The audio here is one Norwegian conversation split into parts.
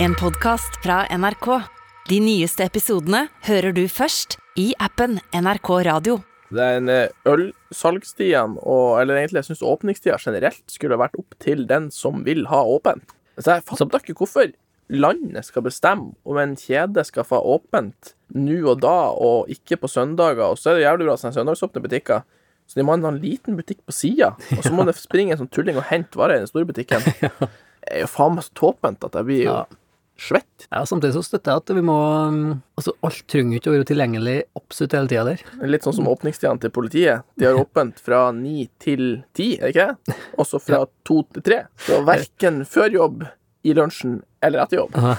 En podcast fra NRK. De nyeste episodene hører du først i appen NRK Radio. Den eh, ølsalgstiden, og, eller egentlig jeg synes åpningstida generelt, skulle vært opp til den som vil ha åpent. Så jeg fatter ikke hvorfor landet skal bestemme om en kjede skal få ha åpent nå og da, og ikke på søndager. Og så er det jævlig bra at det er søndagsåpne butikker. Så de må ha en sånn liten butikk på sida, og så må det springe en sånn tulling og hente varer i den store butikken. Det er jo faen meg så tåpent at jeg blir jo Ja. svett. Ja, Samtidig så støtter jeg at vi må um, Altså, alt trenger jo ikke å være tilgjengelig absolutt hele tida der. Litt sånn som Mm. åpningstidene til politiet. De har åpent fra ni til ti, er det ikke det? Og så fra to til tre. Så verken før jobb, i lunsjen eller etter jobb. Aha.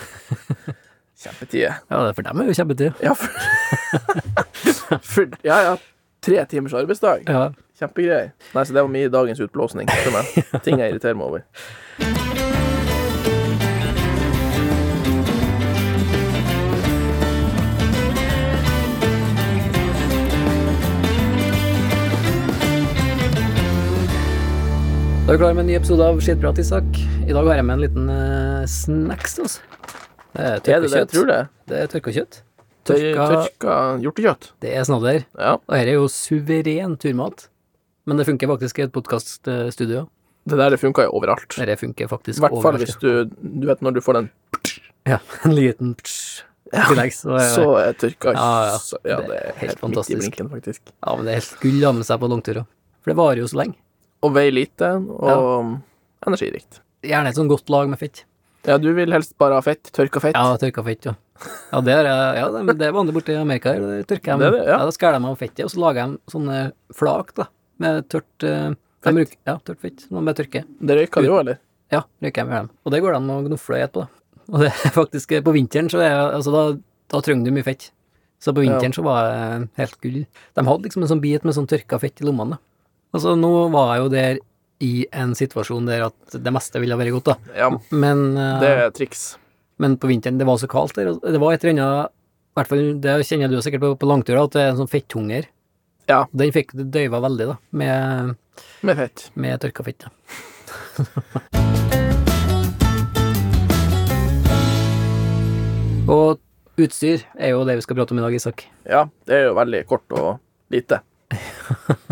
Kjempetider. Ja, det er for dem er jo kjempetid. Ja, for, for Ja, ja. Tre timers arbeidsdag. Ja. Kjempegreier. Nei, så det var mye dagens utblåsning. for meg. Ting jeg irriterer meg over. Da er vi klar med en ny episode av Skittprat, Isak. I dag har jeg med en liten eh, snacks til oss. Det er Er det det tørka jeg kjøtt. tror det? Det er tørka kjøtt. Tørka, Tørka tørka hjortekjøtt. Det er snadder. Ja. Og dette er jo suveren turmat. Men det funker faktisk i et podkaststudio. Det der det funka jo overalt. Dette funker I faktisk hvert fall overalt. hvis du Du vet når du får den, Ja, en liten psj. i tillegg, så er- så er tørka Eh, Ja, ja. så- Ja, det er helt midt i fantastisk. blinken, faktisk. Ja, men det er helt gull å ha med seg på langtur òg. For det varer jo så lenge. og veier lite og um, energirikt. Gjerne et sånn godt lag med fett. Ja, du vil helst bare ha fett. Tørka fett. Ja, tørka fett, ja. Ja, det er, ja, det det er vanlig borte i Amerika. der Tørker de, Det er det, ja. Da skærer de av fettet, og så lager de sånne flak da, med tørt eh, de Fett. bruker- Ja, tørt fett. Noe med tørke. Det røyka du òg, eller? Ja, røyker jeg med dem. Og det går det an å gnofle i etterpå. da. Og det er faktisk eh, På vinteren så er altså da, da trenger du mye fett. Så på vinteren så var det helt gull. De hadde liksom en sånn bit med sånn tørka fett i lommene. da. Altså, nå var jeg jo der i en situasjon der at det meste ville vært godt, da. Ja, Men eh, det er triks. men på vinteren, det var så kaldt der. og Det var et eller annet i hvert fall, Det kjenner du jo sikkert på, på langturer, at det er en sånn fetthunger. Ja. Den fikk det døyva veldig, da, med, Med fett. med tørka fett. da. og utstyr er jo det vi skal prate om i dag, Isak. Ja, det er jo veldig kort og lite.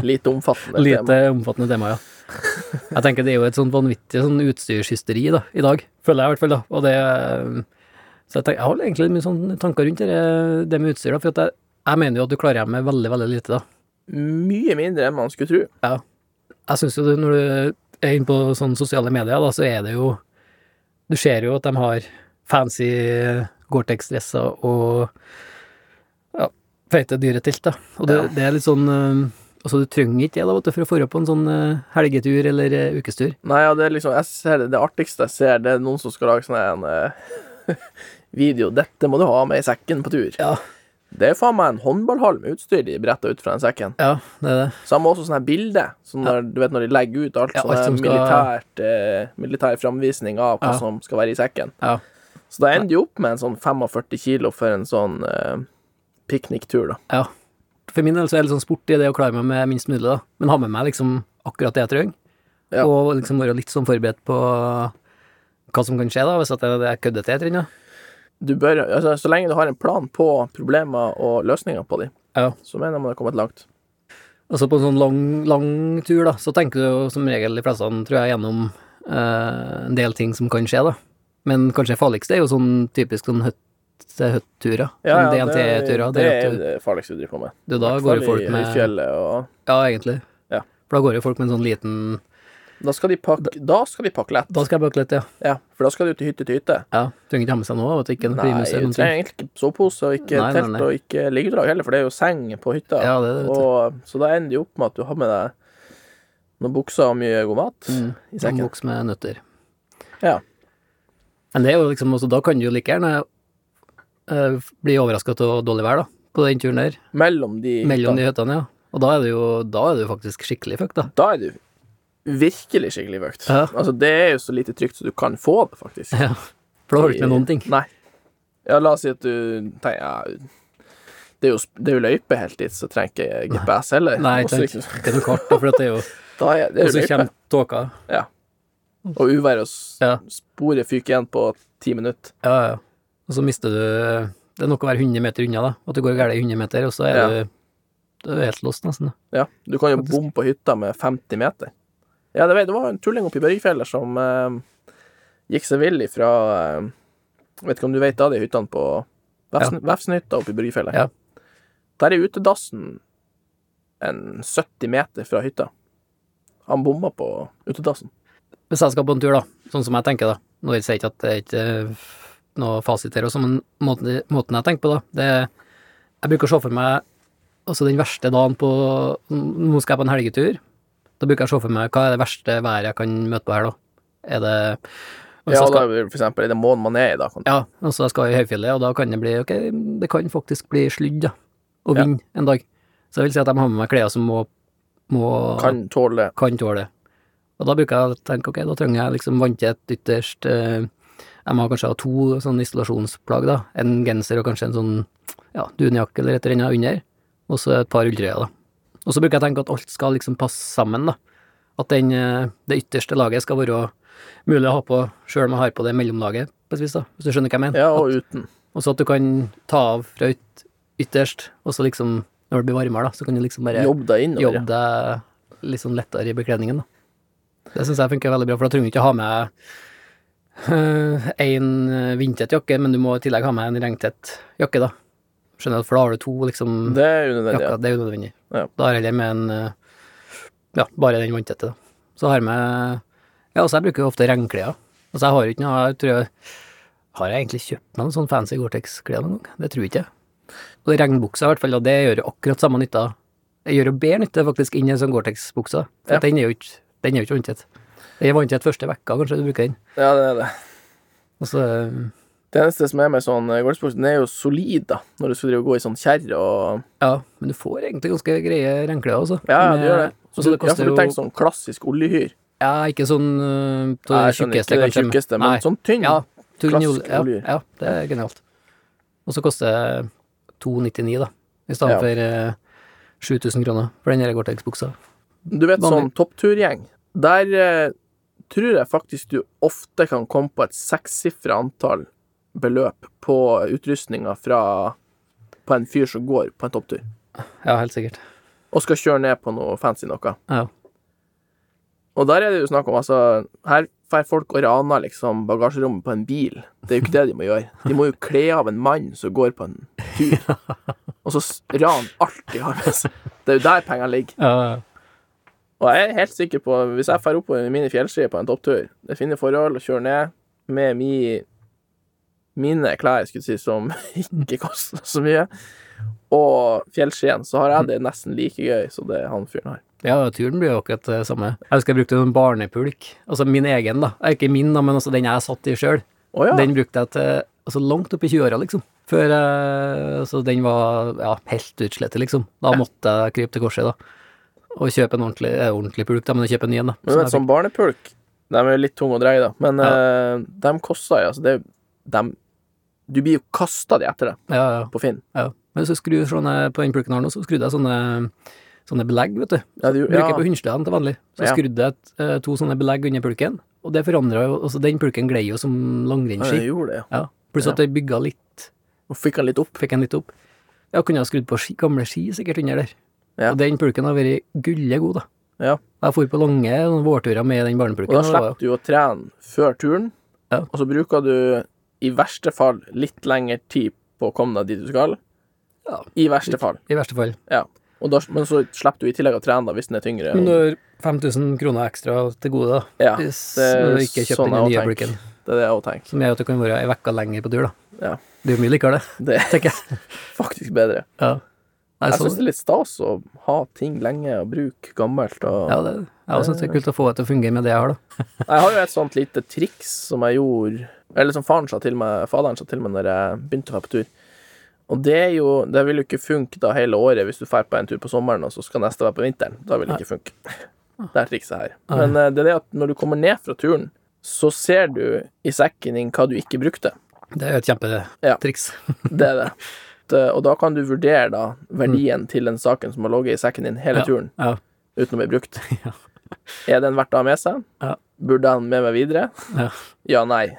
Lite omfattende. tema. Lite omfattende tema, ja. Jeg tenker det er jo et sånn vanvittig sånn utstyrshysteri da, i dag, føler jeg i hvert fall. da, og det eh, Så jeg, tenker, jeg har egentlig mye sånne tanker rundt det, det med utstyr, da, for at jeg, jeg mener jo at du klarer deg med veldig, veldig lite, da. Mye mindre enn man skulle tro. Jeg syns jo det, når du er inne på sånne sosiale medier, da, så er det jo Du ser jo at de har fancy eh, Gore-Tex-dresser og ja, feite, dyre telt, da. Og det, Ja. det er litt sånn eh, Altså, du trenger ikke det da, vet du, for å få opp på en sånn eh, helgetur eller eh, ukestur. Nei, ja, det er liksom Jeg ser det, det artigste jeg ser, det er noen som skal lage sånn en eh, video. 'Dette må du ha med i sekken på tur'. Ja. Det er faen meg en håndballhall med utstyr de bretter ut fra den sekken. Ja, det er det. Samme også sånne her bilder. Sånn når, Du vet når de legger ut alt Ja, sånne alt som skal- militært, eh, militær framvisning av hva Ja. som skal være i sekken. Ja. Så da ender du opp med en sånn 45 kilo for en sånn eh, pikniktur, da. ja. For min del så er det litt sånn sport i det å klare meg med minst mulig, da. Men ha med meg liksom akkurat det jeg trenger. Ja. Og liksom være litt sånn forberedt på hva som kan skje, da, hvis at det det er køddete jeg trenger. Du bør, altså, så lenge du har en plan på problemer og løsninger på dem, Ja. så mener jeg man har kommet langt. Altså på en sånn lang, lang tur, da, så tenker du jo som regel de fleste, tror jeg, gjennom eh, en del ting som kan skje, da. Men kanskje det farligste er jo sånn typisk sånn høtt til høtt-turer. sånn ja, DNT-turer. det, der er at du- det farligste du driver på med. du- Da I hvert går fall jo folk i med høyfjellet, og Ja, egentlig. Ja. For da går jo folk med en sånn liten da skal, de pakke, da skal de pakke lett. Da skal jeg bøke litt, ja. Ja, for da skal du til hytte til hytte. Ja, trenger ikke ha med seg noe, vet du, ikke noe Nei, primus du eller noe trenger sånt. egentlig ikke sovepose og ikke Nei, nei, telt nei. og ikke liggeunderlag heller, for det er jo seng på hytta. Ja, det er det, vet du. og, så da ender det jo opp med at du har med deg noen bukser og mye god mat Mm, i En sekken. boks med nøtter. Ja. Men det er jo liksom, også, da kan du jo like gjerne eh, bli overraska av dårlig vær, da, på den turen der. Mellom de Mellom hyttene. de hyttene, ja. Og da er det jo, da er det jo faktisk skikkelig fuck, da. Da er du virkelig skikkelig vøkt. Ja. Altså, det er jo så lite trygt som du kan få det, faktisk. Ja. For da har du ikke med noen ting. Nei. Ja, la oss si at du tenker ja, det er, jo, sp- det er jo løype helt dit, så trenger ikke jeg GPS heller. Nei, Også tenk, altså, ikke- ikke noe kart, da, for at det er jo Da er det Og er jo så løype. kommer tåka. Ja. Og uværet og s- Ja. sporet fyker igjen på ti minutter. Ja, ja. Og så mister du Det er nok å være 100 meter unna, da. At du går galt i 100 meter, og så er Ja. du Du er helt lost, nesten. da. Ja, du kan jo Faktisk. bomme på hytta med 50 meter. Ja, det, vet- det var en tulling oppe i Børgfjellet som eh, gikk seg vill ifra eh, Vet ikke om du vet da, de hyttene på Vefsn Vefsnhytta oppe i Børgfjellet? Ja. Der er utedassen en 70 meter fra hytta. Han bomma på utedassen. Hvis jeg skal på en tur, da, sånn som jeg tenker, da Nå sier jeg ikke at det er ikke eh, noe fasit her, også, men måten, måten jeg tenker på, da det er, Jeg bruker å se for meg altså den verste dagen på Nå skal jeg på en helgetur. Da bruker jeg å se for meg hva er det verste været jeg kan møte på her, da. Er det og hvis Ja, jeg da, skal, er vi for eksempel, i den måneden man er i, da. Kan, ja, altså jeg skal i høyfjellet, og da kan det bli Ok, det kan faktisk bli sludd, da. Og Ja. vind en dag. Så jeg vil si at jeg må ha med meg klær som må, må kan tåle kan tåle det. Og da bruker jeg å tenke, ok, da trenger jeg liksom vanntett ytterst. eh, Jeg må kanskje ha to sånne isolasjonsplagg, da. En genser og kanskje en sånn ja, dunjakke eller et eller annet under. Og så et par ulltrøyer, da. Og så bruker jeg å tenke at alt skal liksom passe sammen, da. At den, eh, det ytterste laget skal være mulig å ha på sjøl om jeg har på det mellomlaget, på et vis, da. Hvis du skjønner hva jeg mener. Ja, og At- uten. og så at du kan ta av fra yt- ytterst, og så liksom, når det blir varmere, da, så kan du liksom bare Jobb deg innover. jobbe deg litt sånn lettere i bekledningen. Da. Det syns jeg funker veldig bra, for da trenger du ikke ha med eh, en eh, vindtett jakke, men du må i tillegg ha med en regntett jakke, da. Skjønner du, for da har du to liksom, Det er unødvendig. jakker, Ja. det er unødvendig. Ja. Da har jeg heller med en eh, ja, bare den vanntette, da. Så har jeg med Ja, også jeg bruker jo ofte regnklær. Altså, jeg har jo ikke noe jeg tror jeg, Har jeg egentlig kjøpt meg noen sånn fancy Gore-Tex-klær noen gang? Det tror jeg ikke. Og regnbuksa, i hvert fall, og det gjør jo akkurat samme nytta. Det gjør jo bedre nytte, faktisk, inn i en sånn Gore-Tex-buksa. For Ja. den er jo ikke den er jo ikke vanntett. Den er vanntett første vekka, kanskje, du bruker den. ja, det er det. Og så eh, Det eneste som er med sånn eh, golfsport, den er jo solid, da, når du skal drive og gå i sånn kjerre og Ja, men du får egentlig ganske greie regnklær, altså. Ja, ja, Med- det gjør det. Og så det ja, koster for jo du tenker sånn klassisk oljehyr. Ja, ikke sånn øh, av Nei, det jeg skjønner ikke det kanskje. tjukkeste, men Nei. sånn tynn. Ja, tynn Klassisk jul, ja, olje. ja, det er genialt. Og så koster det 299, da, i stedet Ja. for eh, 7000 kroner for den her Gore-Tex-buksa. Du vet sånn Vanlig. toppturgjeng. Der eh, tror jeg faktisk du ofte kan komme på et sekssifra antall beløp på utrustninga fra på en fyr som går på en topptur, Ja, helt sikkert. og skal kjøre ned på noe fancy noe. Ja. Og der er det jo snakk om, altså Her får folk og raner liksom bagasjerommet på en bil. Det er jo ikke det de må gjøre. De må jo kle av en mann som går på en tur, og så s- ran alt de har med seg. Det er jo der pengene ligger. Ja, Og jeg er helt sikker på, hvis jeg drar opp på mine fjellskier på en topptur, det finner forhold og kjører ned med mi, mine klær, skulle jeg si, som ikke koster så mye, og fjellskien, så har jeg det nesten like gøy som det han fyren har. ja turen blir jo akkurat det samme. Jeg husker jeg brukte en barnepulk, altså min egen, da. Eh, Ikke min, da, men altså den jeg satt i sjøl. Å ja. Den brukte jeg til altså langt opp i 20-åra, liksom. Før eh, altså, den var ja, helt utslettet, liksom. Da måtte jeg krype til korset, da. Og kjøpe en ordentlig, eh, ordentlig pulk, da, men kjøpe en ny en, da. Men du Så vet, jeg fikk- sånn barnepulk, de er jo litt tunge å dreie, da, men eh, de koster jo, altså, det er jo dem- Du blir jo kasta de etter det ja, ja. på Finn. Ja, men hvis du skrur sånne på den pulken her nå, så skrudde jeg sånne, sånne belegg, vet du. Ja, du, Bruker ja, på hundestedene til vanlig. Så Ja. skrudde jeg et, eh, to sånne belegg under pulken, og det forandra jo altså Den pulken glei jo som ja, de langrennsski. gjorde det, ja. Ja. Pluss at det bygga litt, Og fikk han litt opp. fikk en litt opp. Ja, kunne ha skrudd på ski, gamle ski sikkert under der. Ja. Og den pulken har vært gulle god, da. Ja. Jeg for på lange sånne vårturer med den Og barnepulken. da og det var- slipper du å trene før turen, Ja. og så bruker du i verste fall litt lengre tid på å komme deg dit du skal. Ja. I verste fall. I verste fall. Og da, men så slipper du i tillegg å trene da, hvis den er tyngre. Men du har 5000 kroner ekstra til gode, da. Ja, det Hvis du ikke er kjøper sånn den nye jeg òg pulken. tenker. Det er det jeg òg tenker. Som gjør at du kan være ei uke lenger på tur, da. Ja. Det er jo mye likere, det, Det er tenker jeg. faktisk bedre. Ja. Nei, Jeg så, syns det er litt stas å ha ting lenge og bruke gammelt. Og... ja, det, jeg også synes det er kult å få det til å fungere med det jeg har, da. Jeg har jo et sånt lite triks som jeg gjorde Eller som faren sa til meg Faderen sa til meg når jeg begynte å være på tur Og det er jo Det vil jo ikke funke da hele året Hvis du drar på en tur på sommeren Og så skal neste være på vinteren Da vil det ikke funke Ah. Det er trikset her Men eh, det er det at når du kommer ned fra turen Så ser du i sekken din hva du ikke brukte Det er jo et kjempetriks. Det er det Det- Og da kan du vurdere da Verdien til den saken som har ligget i sekken din hele turen Ja. Uten å bli brukt Ja. Er den verdt å ha med seg? Ja. Burde han med meg videre? Ja. Ja, nei.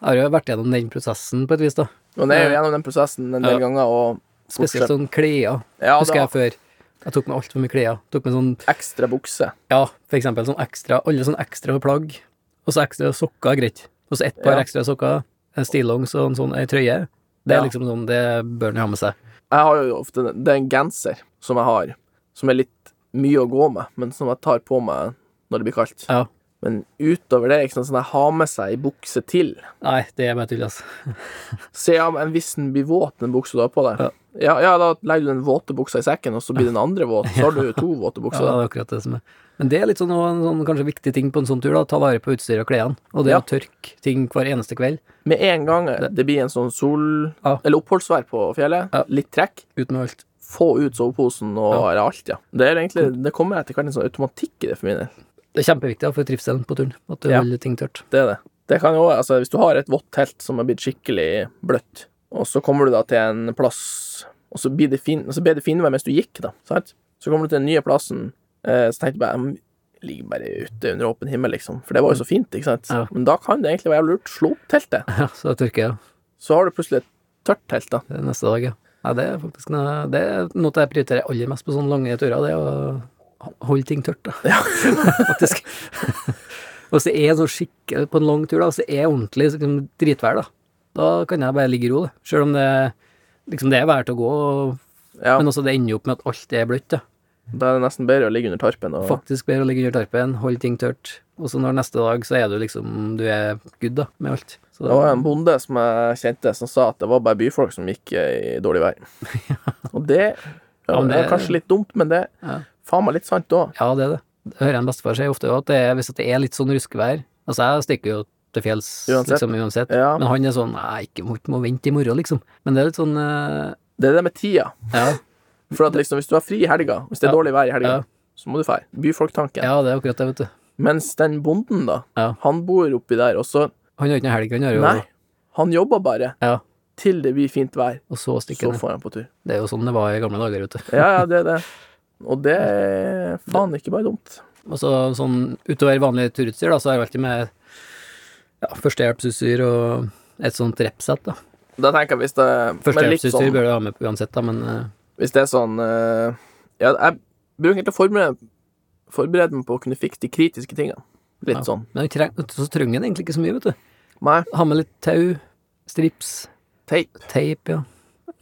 Jeg har jo vært gjennom den prosessen på et vis, da. Man er jo gjennom den prosessen en del Ja. ganger, og Spesielt sånn klær. ja, da, Husker jeg før. Jeg tok med altfor mye klær. Tok med sånn, ekstra bukse. ja, for eksempel sånn ekstra, alle sånn ekstra plagg, og så ekstra sokker, greit. Og så ett par Ja. ekstra sokker, en stillongs og en sånn ei trøye. Det Ja. er liksom sånn, det bør en ha med seg. Jeg har jo ofte Det er en genser som jeg har, som er litt mye å gå med, men som jeg tar på meg når det blir kaldt. Ja. Men utover det, ikke sant, sånn jeg har med seg ei bukse til. Nei, det er bare tull, altså. Se om en hvis den blir våt, den buksa du har på deg. Ja. Ja, ja, da legger du den våte buksa i sekken, og så blir den andre våt. Så har du jo to våte Ja, bukser. det da. er akkurat det som er. Men det er litt sånn, også en sånn kanskje viktig ting på en sånn tur, da. Ta vare på utstyret og klærne. Og det Ja. å tørke ting hver eneste kveld. Med en gang det blir en sånn sol... Ja. Eller oppholdsvær på fjellet, Ja. litt trekk, Ut med alt. få ut soveposen og Ja. eller alt, ja. Det, er egentlig, det kommer etter hvert en sånn automatikk i det for min del. Det er kjempeviktig da, for trivselen på turen, at du Ja. holder ting tørt. Det er det. Det kan jo, altså, hvis du har et vått telt som er blitt skikkelig bløtt, og så kommer du da til en plass, og så blir det, fin, så ble det finvær mens du gikk, da, sant? Så kommer du til den nye plassen, eh, så tenkte jeg bare, "Mm, ligger bare ute under åpen himmel, liksom. For det var jo så fint, ikke sant? Ja. Men da kan det egentlig være lurt. Slå opp teltet. Ja, så jeg tørker, ja. Så har du plutselig et tørt telt, da. Det er neste dag, ja. Nei, det er faktisk noe, det er noe jeg prioriterer aller mest på sånne lange turer, det er å holde ting tørt, da. faktisk. Og så er jeg sånn skikk på en lang tur, da, så er jeg ordentlig så liksom, dritvær, da. Da kan jeg bare ligge i ro, det. Selv om det, liksom, det er vær til å gå, og, Ja, men også det ender jo opp med at alt er bløtt, da. Da er det nesten bedre å ligge under tarpen og Faktisk bedre å ligge under tarpen, holde ting tørt, og så når neste dag, så er du liksom, du er good, da, med alt. Så Det var en bonde som jeg kjente, som sa at det var bare byfolk som gikk eh, i dårlig vær. Og det, ja, Ja, men det er det- kanskje litt dumt, men det Ja. faen meg litt sant òg. Ja, det er det. Det hører jeg en bestefar si ofte også, at det er, hvis at det er litt sånn ruskevær Altså, jeg stikker jo til fjells Uansett. liksom uansett, Ja. men han er sånn Nei, ikke må, må vente i morgen, liksom. Men det er litt sånn eh, Det er det med tida. ja, For at liksom, hvis du har fri i helga, hvis det er Ja. dårlig vær i helga, Ja. så må du dra. Byfolktanken. ja, det er akkurat det, vet du. Mens den bonden, da, Ja. han bor oppi der, og så Han har ikke noe helg, han har jo Nei. Han jobber bare Ja, til det blir fint vær. og så Så stikker han. får han på tur. Det er jo sånn det var i gamle dager, vet du. Ja, ja, det er det. Og det er faen ikke bare dumt. Og så sånn utover vanlig turutstyr, da, så er det alltid med ja, førstehjelpsutstyr og et sånt repsett, da. Da tenker jeg hvis det men litt Førstehjelpsutstyr sånn- bør du ha med uansett, da, men eh, Hvis det er sånn eh, Ja, jeg bruker egentlig å forberede, forberede meg på å kunne fikse de kritiske tingene. Litt Ja. sånn. men treng, så trenger han egentlig ikke så mye, vet du. Nei, Ha med litt tau, strips, teip, Teip, ja.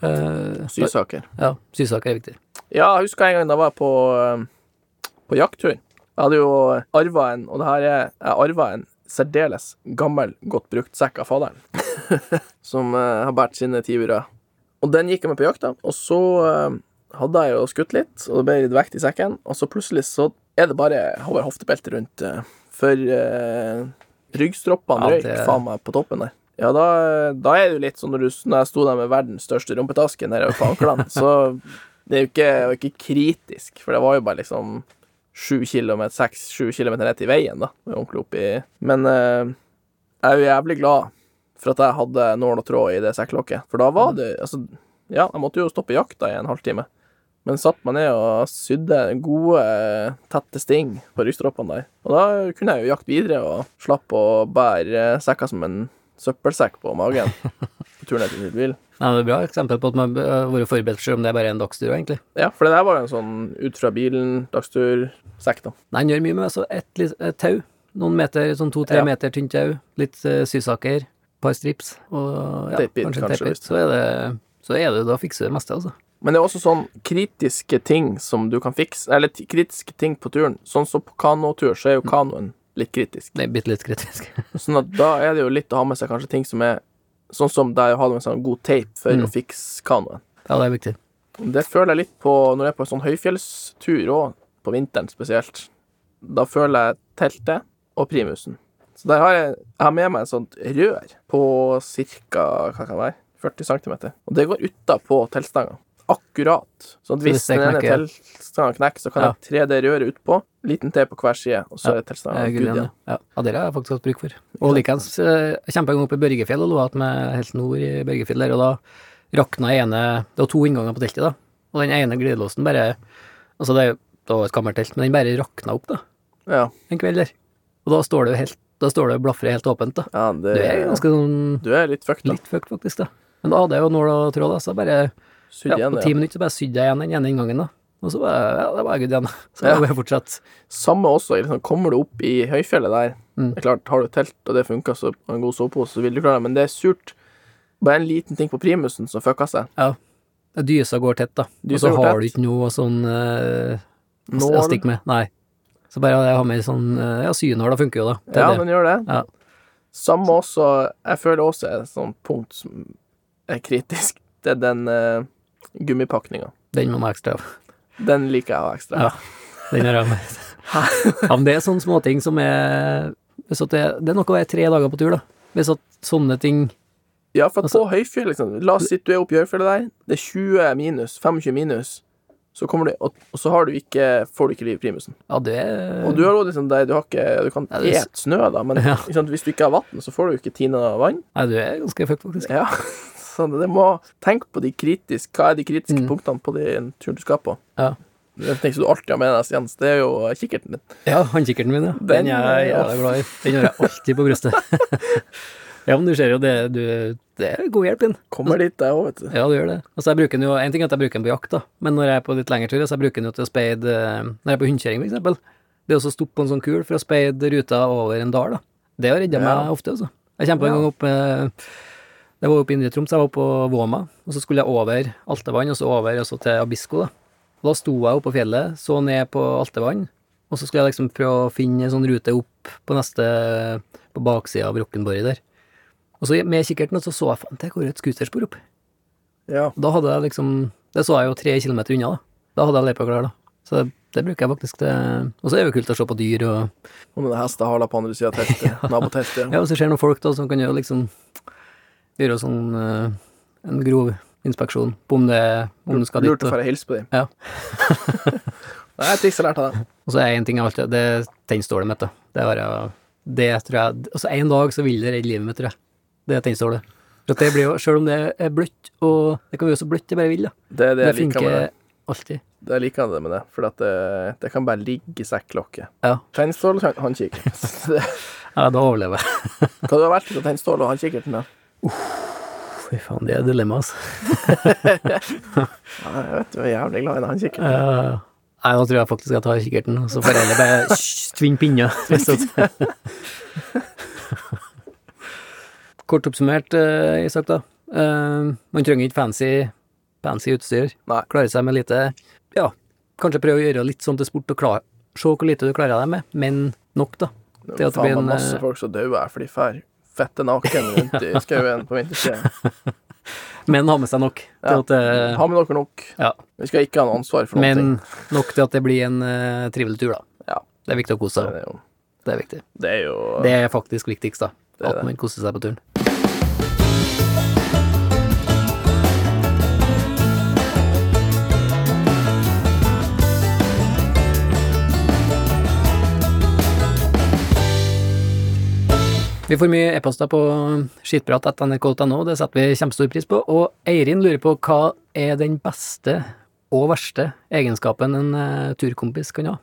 Eh, sysaker. ja, sysaker er viktig. Ja, jeg husker en gang da var jeg på, eh, på jakttur. Jeg hadde jo arva en, og det her er Jeg arva en særdeles gammel, godt brukt sekk av faderen. som eh, har båret sine ti brød. Og den gikk jeg med på jakta, og så eh, hadde jeg jo skutt litt, og det ble litt vekt i sekken, og så plutselig så er det bare over hoftebeltet rundt, eh, for eh, ryggstroppene Ja, røyk det- faen meg på toppen der. Ja, da, da er det jo litt sånn når, du, når jeg sto der med verdens største rumpetaske nede på anklene, så det er jo ikke, det var ikke kritisk, for det var jo bare liksom sju kilometer, seks, sju kilometer ned til veien, da, med ordentlig oppi Men eh, jeg er jo jævlig glad for at jeg hadde nål og tråd i det sekklokket. For da var det altså, Ja, jeg måtte jo stoppe jakta i en halvtime. Men satt meg ned og sydde gode, tette sting på ryggstroppene der. Og da kunne jeg jo jakte videre og slapp å bære sekka som en søppelsekk på magen på tur ned til Sydbil. Nei, det er et bra eksempel på at man bør har vært forberedt selv om det er bare en dagstur, egentlig. Ja, for det der var jo en sånn ut fra bilen, dagstur-sekk, da. Nei, han gjør mye med så et, litt- et tau. Noen meter, sånn to-tre Ja. meter tynt tau. Litt eh, sysaker, par strips og ja, Teipbit, kanskje en kanskje, teipbit. hvis- Så er det så er det, da fikser du det meste, altså. Men det er også sånn kritiske ting som du kan fikse, eller t- kritiske ting på turen. Sånn som på kanotur, så er jo kanoen litt kritisk. Det er bitte litt kritisk. Sånn at da er det jo litt å ha med seg kanskje ting som er sånn som der jeg har med sånn god teip for Mm. å fikse kanoen. ja, det er viktig. Det føler jeg litt på når jeg er på en sånn høyfjellstur òg, på vinteren spesielt. Da føler jeg teltet og primusen. Så der har jeg, jeg har med meg et sånt rør på ca. hva kan det være, 40 cm. Og det går utapå teltstanga. Akkurat. Sånn at Så hvis hvis det den ene knekker- teltstanga knekker, så kan Ja. jeg tre det røret utpå. Liten T på hver side, og så Ja, er teltstanga Eh, good Gud, igjen. ja. Ja. ja, det har jeg faktisk hatt bruk for. Og likeens eh, jeg kjempet en gang oppe i Børgefjell og lå igjen med helt nord i Børgefjell der, og da rakna ene Det var to innganger på teltet, da, og den ene glidelåsen bare Altså, det, er jo- det var et kammertelt, men den bare rakna opp, da, Ja. en kveld der. Og da står det jo helt Da står det og blafrer helt åpent, da. Ja, det, Du er ganske sånn du er litt fucked, da. litt fucked, faktisk, da. Men da hadde jeg jo nål og tråd, da, så jeg bare Sydd ja, igjen, På ti ja. minutter så bare sydde jeg igjen den ene inngangen, da. Og så bare Ja, det var good igjen. Så Ja. jeg bare fortsatt. Samme også. Liksom, kommer du opp i høyfjellet der Mm. det er klart, Har du telt og det funka, så og en god sovepose, så vil du klare det. Men det er surt. Bare en liten ting på primusen som fucka seg. Dysa går tett, da. Og Dysa går så tett. har du ikke noe sånn eh, å s- å Nål. stikke med. Nei. Så bare jeg har med sånn eh, Ja, synål, da funker jo, da. Til Ja, det. den gjør det. Ja. Samme også Jeg føler også er et sånt punkt som er kritisk. Det er den uh, gummipakninga. Den må man ha ekstra av. Den liker jeg å ha ekstra. Ja. Den har jeg med. ja, men det er sånne småting som er hvis at det, det er nok å være tre dager på tur, da. Hvis at sånne ting Ja, for at Altså- på høyfjell, liksom La oss si du er oppe i høyfjellet der, det er 20 minus, 25 minus, så kommer du Og, og så har du ikke, får du ikke liv i primusen. Ja, det Og du har også liksom det, du har ikke Du kan Ja, det er s- et snø, da, men Ja. ikke sant, hvis du ikke har vann, så får du jo ikke tina vann. Nei, du er ganske fucked, faktisk. Ja, så det må Tenk på de kritiske Hva er de kritiske Mm. punktene på den turen du skal på? Ja. Det tenker du alltid har med deg, Jens. Det er jo kikkerten din. Ja, håndkikkerten min, ja. Den Den, er jeg er jævla glad i. Den har jeg alltid på brystet. ja, men du ser jo det, du, det er god hjelp, den. Kommer dit, jeg òg, vet du. Ja, du gjør det. Altså, jeg bruker den jo, en ting er at jeg bruker den på jakt, da, men når jeg er på litt lengre turer, så jeg bruker den jo til å speide eh, Når jeg er på hundekjøring, for eksempel, det er også å stoppe på en sånn kul for å speide ruta over en dal, da. Det har redda Ja. meg ofte, altså. Jeg kjempa Ja. en gang opp med Jeg var oppe i Indre Troms, jeg var på Våma, og så skulle jeg over Altevann, og så over og så til Abisko, da. Og da sto jeg oppe på fjellet, så ned på Altevann, og så skulle jeg liksom prøve å finne en sånn rute opp på neste På baksida av Rokkenborg der. Og så med kikkerten, og så så jeg faen, der går det et scooterspor opp. Ja. Da hadde jeg liksom Det så jeg jo tre kilometer unna, da. Da hadde jeg løypa klar, da. Så det, det bruker jeg faktisk til Og så er det jo kult å se på dyr, og Og noen hester haler på andre sida av teltet. Naboteltet. ja, hvis det skjer noen folk, da, så kan jeg jo liksom gjøre sånn eh, en grov inspeksjon på om det, om du skal dit. Lurt å Og, få hilse på dem. Ja. Nei, et triks jeg lærte av deg. og så er én ting jeg alltid Det er tennstålet mitt, da. Det har jeg Det tror jeg Altså, en dag så vil det redde livet mitt, tror jeg. Det er tennstålet. For at det blir jo, Sjøl om det er bløtt, og det kan være så bløtt jeg bare vil, da. Det er det Det jeg liker med det. funker alltid. Det er like det med det, for at eh, det, det kan bare ligge i sekklokket. Ja. Tennstål og håndkikkert. Så det- Ja, da overlever jeg. Hva du har vært av tennstål og håndkikkerten? da? Fy faen, det er dilemma, altså. Ja, jeg vet du er jævlig glad i den håndkikkert. Eh, Nei, nå tror jeg faktisk jeg tar kikkerten, og så får jeg heller bare tvinne pinna. hvis at- Kort oppsummert, eh, Isak, da. Eh, man trenger ikke fancy, fancy utstyr. Nei. Klarer seg med lite Ja, kanskje prøve å gjøre litt sånn til sport og klar, se hvor lite du klarer deg med, men nok, da. Det det er at det blir faen meg en, masse eh, folk som dauer her, for de fær fette naken rundt i skauen på vinterstid. Men ha med seg nok. Ja. Til at, eh, Ha med dere nok. ja. Vi skal ikke ha noe ansvar for noen ting. Men nok til at det blir en eh, trivelig tur, da. Ja. Det er viktig å kose Det seg. er jo, Det er viktig. det er jo Det er faktisk viktigst, da. Det er At det. man koser seg på turen. Vi får mye e-poster på skittprat.nrk.no, det setter vi kjempestor pris på. Og Eirin lurer på hva er den beste og verste egenskapen en eh, turkompis kan ha?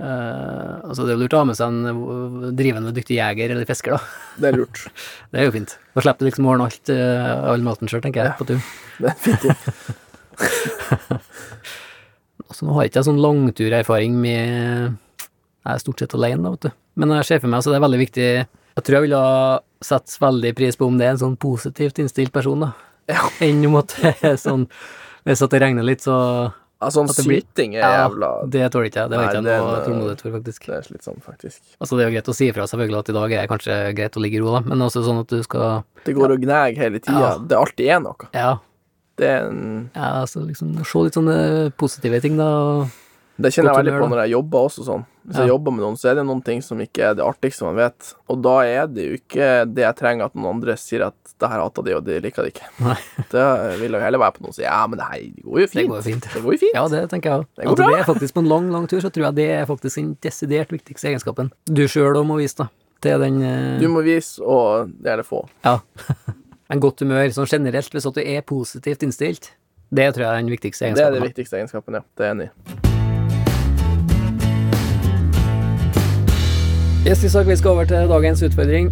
Eh, altså Det er jo lurt å ha med seg en eh, drivende dyktig jeger eller fisker, da. det er lurt. Det er jo fint. Da slipper du liksom å ordne alt, eh, all maten sjøl, tenker jeg, på tur. Det er fint. Altså, nå har ikke jeg sånn langturerfaring med Jeg er stort sett alene, da, vet du. Men når jeg ser for meg, så det er veldig viktig Jeg tror jeg ville ha satt veldig pris på om det er en sånn positivt innstilt person, da. Ja. Enn om at det er sånn Hvis at det regner litt, så Altså, sånn At det blir- syting er Ja, jævla Det tåler ikke jeg. Det har Nei, ikke jeg det er noe en, eh, tålmodighet for, faktisk. Det er slitsomt, faktisk. Altså, det er jo greit å si ifra, selvfølgelig, at i dag er det kanskje greit å ligge i ro, da, men også sånn at du skal Det går og gnager hele tida. Ja. Det alltid er noe. Ja, Det er en ja altså liksom se litt sånne positive ting, da. og- Det kjenner jeg Godt veldig humør, på da. når jeg jobber også sånn. Hvis jeg Ja. jobber med noen, så er det noen ting som ikke er det artigste man vet. Og da er det jo ikke det jeg trenger at noen andre sier at det her hater de, og de liker det ikke. Nei. Da vil jeg jo heller være på noen som sier ja, men det her går jo fint. går jo fint. Det går jo fint. Ja, det tenker jeg òg. Det går At det bra. blir faktisk på en lang, lang tur, så tror jeg det er faktisk den desidert viktigste egenskapen du sjøl òg må vise, da. Til den eh, Du må vise, og det er det få. Ja. en godt humør, sånn generelt, hvis at du er positivt innstilt. Det tror jeg er den viktigste Det er egenskapen. det viktigste egenskapen, ja. Det er jeg enig i. Yes, Isak, vi skal over til dagens utfordring.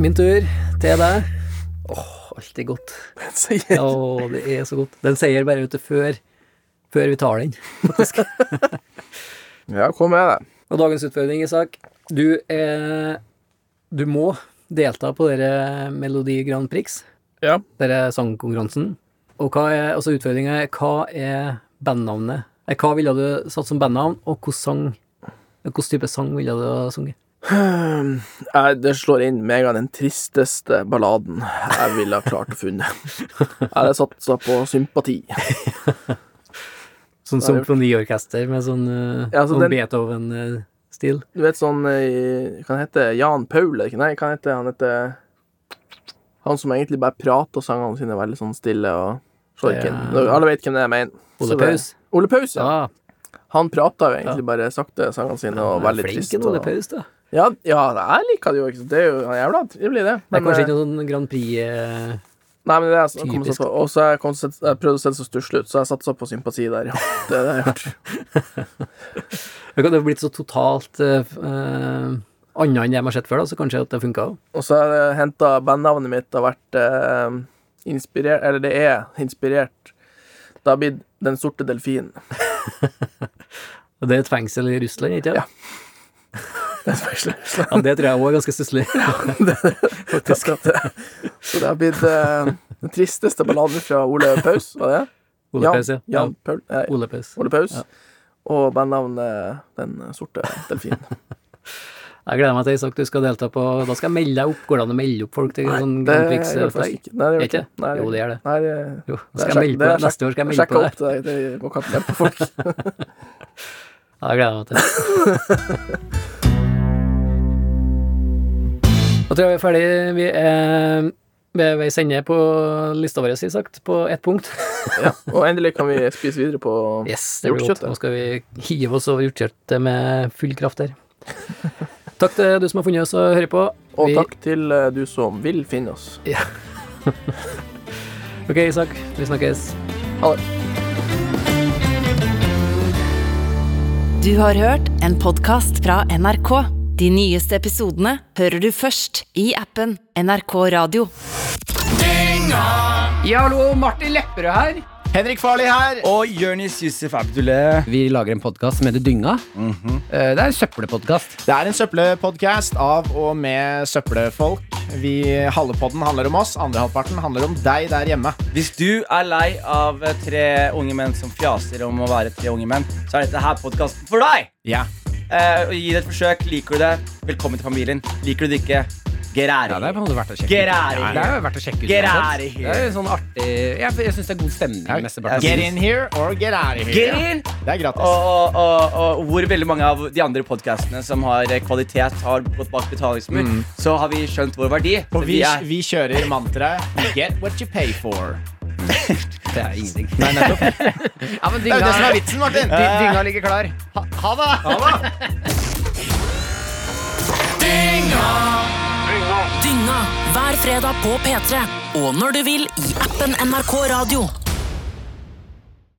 Min tur til deg. Åh, alltid godt. Så Ja, det er så godt. Den sier bare ute før, før vi tar den. Ja, kom med det. Og dagens utfordring, Isak, du er Du må delta på dere Melodi Grand Prix, Ja. dere sangkonkurransen. Og hva er, altså utfordringa er hva er bandnavnet? Eh, Hva ville du satt som bandnavn, og hvilken sang Hvilken type sang ville du ha sunget? Jeg, det slår inn med en gang den tristeste balladen jeg ville ha klart å funne. Jeg hadde satsa på sympati. Ja, Sånn det- symfoniorkester med sånn, eh, Ja, altså sånn den- Beethoven-stil. Du vet sånn eh, Hva han heter Jan Paul? eller ikke? Nei, hva han heter han? heter Han som egentlig bare prater sangene sine veldig sånn stille og slår ikke inn. Ja. Alle vet hvem det er, jeg mener. Så Ole det- Paus. Ole Paus, ja. Ja, Han prater jo Ja. egentlig bare sakte sangene sine og han er veldig flink trist. en Ole og- Paus, da. Ja, ja, jeg liker det jo. ikke sant? Det er jo jævla trivelig, det. Det er Men, eh, kanskje ikke noe sånn Grand Prix eh, Nei, men det er jeg kom og Typisk. satt på. Og så har jeg, kom og sett- jeg prøvde å se det så stusslig ut, så jeg satsa på sympati der, ja. Det er det jeg har gjort. Det kan jo ha blitt så totalt eh, f- eh, annet enn det de har sett før, da, så kanskje at det funka òg. Og så har jeg henta bandnavnet mitt har vært eh, inspirert Eller det er inspirert. Det har blitt Den sorte delfin. Det er et fengsel i Russland, ikke Ja. sant? Det er faktisk- Ja, det tror jeg òg er ganske stusslig. Faktisk. Så det har blitt eh, den tristeste balladen fra Ole Paus, var det? Ole Paus, ja. ja. Jan Paul, eh, Ole Paus. Ole Paus. Ja. Og bandnavnet Den sorte delfin. Jeg gleder meg til Isak, du skal delta på Da skal jeg melde deg opp. Går det an å melde opp folk til sånn det Grand Prix? gjør det for deg? faktisk ikke. Nei, det gjør Er det ikke? ikke. Nei, Jo, det gjør det. Nei, det Jo, da Det er skal jeg sjekk- det melde på er det. Neste år skal jeg melde Sjekk på det. opp det. Det går ikke an å hjelpe folk. Jeg gleder meg til det. Da tror jeg vi er ferdig. Vi er ved veis ende på lista vår, Isak, på ett punkt. Ja. Og endelig kan vi spise videre på Yes, det blir godt. Hjortekjøttet. Nå skal vi hive oss over hjortekjøttet med full kraft her. Takk til du som har funnet oss og hører på. Og Vi- takk til eh, du som vil finne oss. Ok, Isak, vi snakkes. Du har hørt en podkast fra NRK. De nyeste episodene hører du først i appen NRK Radio. Ja, hallo, Martin Lepperød her. Henrik Farley her. Og Jonis Yusuf Abdullah. Vi lager en podkast som heter Dynga. Eh, Det er en søppelpodkast. Det er en søppelpodkast av og med søppelfolk. Vi, halve podden handler om oss, andre halvparten handler om deg der hjemme. Hvis du er lei av eh, tre unge menn som fjaser om å være tre unge menn, så er dette her podkasten for deg! Ja. Eh, og gi det et forsøk. Liker du det, velkommen til familien. Liker du det ikke, get out Ja, of det er på en here. måte verdt å sjekke Get ut. out of Ja, Det er jo verdt å sjekke ut. Get uansett. out of here. Det er jo sånn artig Jeg, jeg syns det er god stemning. mesteparten av Get tiden. in here or get out of here. Get in! Det er gratis. Og, og, og, og hvor veldig mange av de andre podkastene som har eh, kvalitet, har gått bak betalingsmur, Mm. så har vi skjønt vår verdi. Og vi, er- vi kjører mantraet Get what you pay for. Det er ingenting. Nei, nettopp. Ja, men Det er jo det som dynga, er vitsen, Martin. dy- dynga ligger klar. Ha det! Dynga hver fredag på P3 og når du vil i appen NRK Radio.